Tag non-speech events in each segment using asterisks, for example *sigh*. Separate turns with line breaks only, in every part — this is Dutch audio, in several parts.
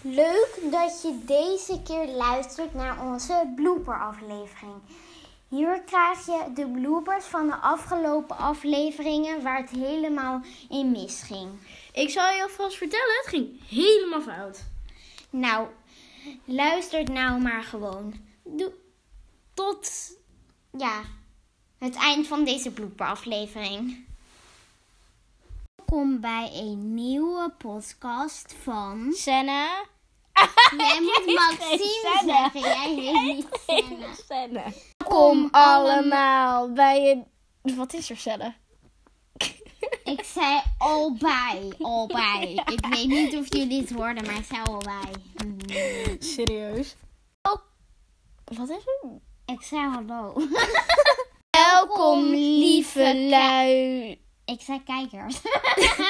Leuk dat je deze keer luistert naar onze blooperaflevering. Hier krijg je de bloopers van de afgelopen afleveringen waar het helemaal in misging.
Ik zal je alvast vertellen, het ging helemaal fout.
Nou, luister het nou maar gewoon. Doe
Tot.
ja, het eind van deze blooperaflevering. Welkom bij een nieuwe podcast van...
Senna.
*laughs* Jij moet Maxime
Sanne.
zeggen, jij heet niet Sanne.
Senna.
Kom
allemaal bij je. Wat is er, Senna?
Ik zei "Oh, al bij,
*laughs*
al bij. Ik weet niet of jullie het hoorden, maar ik zei "Oh, al bij.
Serieus? Oh. Wat is er?
Ik zei hallo. *laughs*
Welkom,
lieve
lui.
Ik zei kijkers.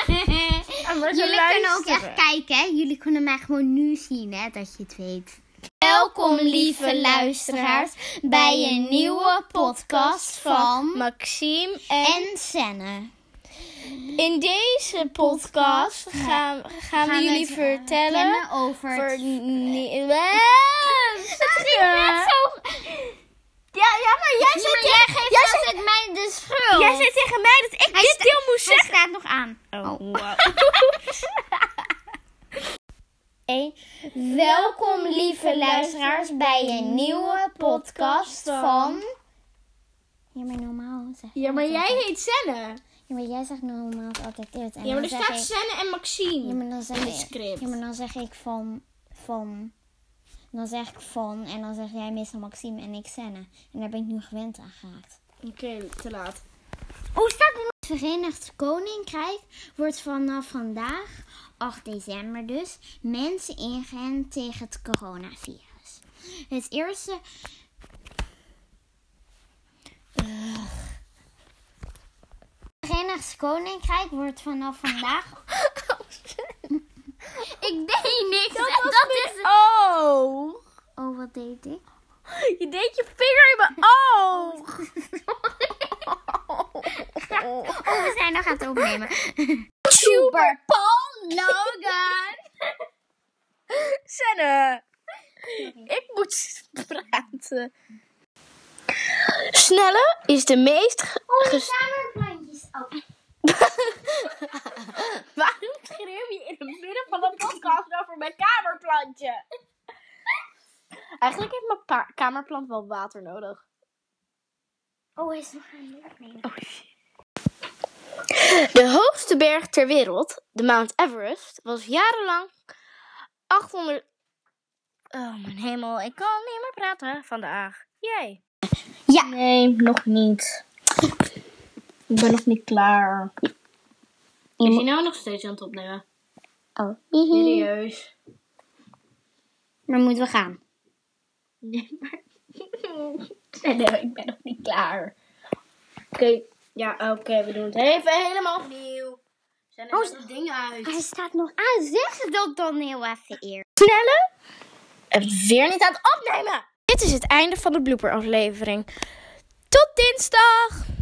Jullie
jullie kunnen ook echt kijken, hè? Jullie kunnen mij gewoon nu zien, hè, dat je het weet.
Welkom, lieve luisteraars, bij een nieuwe podcast van Maxime en
En Senne.
In deze podcast gaan, gaan, we jullie
het, eh,
vertellen
kennen over...
voor
het-
ni- *laughs*
Het ging net zo...
Ja, ja, maar jij
Ja,
zei,
maar jij geeft
jij
altijd mij de schuld.
jij zei tegen mij dat ik Oh,
Hij
dit
sta-
deel moest
Hij
zeggen.
staat nog aan. Welkom lieve luisteraars bij een nieuwe podcast van... Ja, maar normaal zeg
*laughs* Ja, maar jij heet Senne.
Ja, maar jij zegt normaal altijd eerst. En
Ja, maar er
dan zeg
staat
ik-
Senne en
Ja,
Maxime.
maar dan zeg
in het
ik...
script.
Ja, maar dan zeg ik van... Van... Dan zeg ik van en dan zeg jij meestal Maxime en ik Senna. En daar ben ik nu gewend aan geraakt.
Oké, te laat.
Hoe staat nu? Het Verenigd Koninkrijk wordt vanaf vandaag, 8 december dus, mensen ingeënt tegen het coronavirus. Het eerste Het Eh. Verenigd Koninkrijk wordt vanaf vandaag. Ik deed niks. Dat, is het.
Oh,
Oh, wat deed ik?
*laughs* je deed je vinger in mijn oog.
Oh, we zijn nog aan het *laughs* opnemen.
Super *laughs* Paul
Logan!
*laughs* Senne. Ik moet *laughs* praten. Snelle is de meest. ge-
Oh, die
ges-
kamerplantjes. Oh.
Waarom schreeuw je in het midden van een podcast over mijn kamerplantje? Eigenlijk heeft mijn pa- kamerplant wel water nodig.
Oh, hij is nog aan het opnemen.
Oh, De hoogste berg ter wereld, de Mount Everest, was jarenlang 800. Oh mijn hemel, ik kan niet meer praten vandaag. Jij?
Ja.
Nee, nog niet. Ik ben nog niet klaar. Is je nou nog steeds aan het opnemen?
Oh.
Serieus?
Maar moeten we gaan?
Nee, maar... *laughs* nee, ik ben nog niet klaar. Oké, ja, oké, we doen het even helemaal opnieuw. Zijn er
Oh,
nog dingen uit?
Hij staat nog aan. Zeg dat dan heel even eerst.
Snelle? Het Eh, weer niet aan het opnemen! Dit is het einde van de blooperaflevering. Tot dinsdag!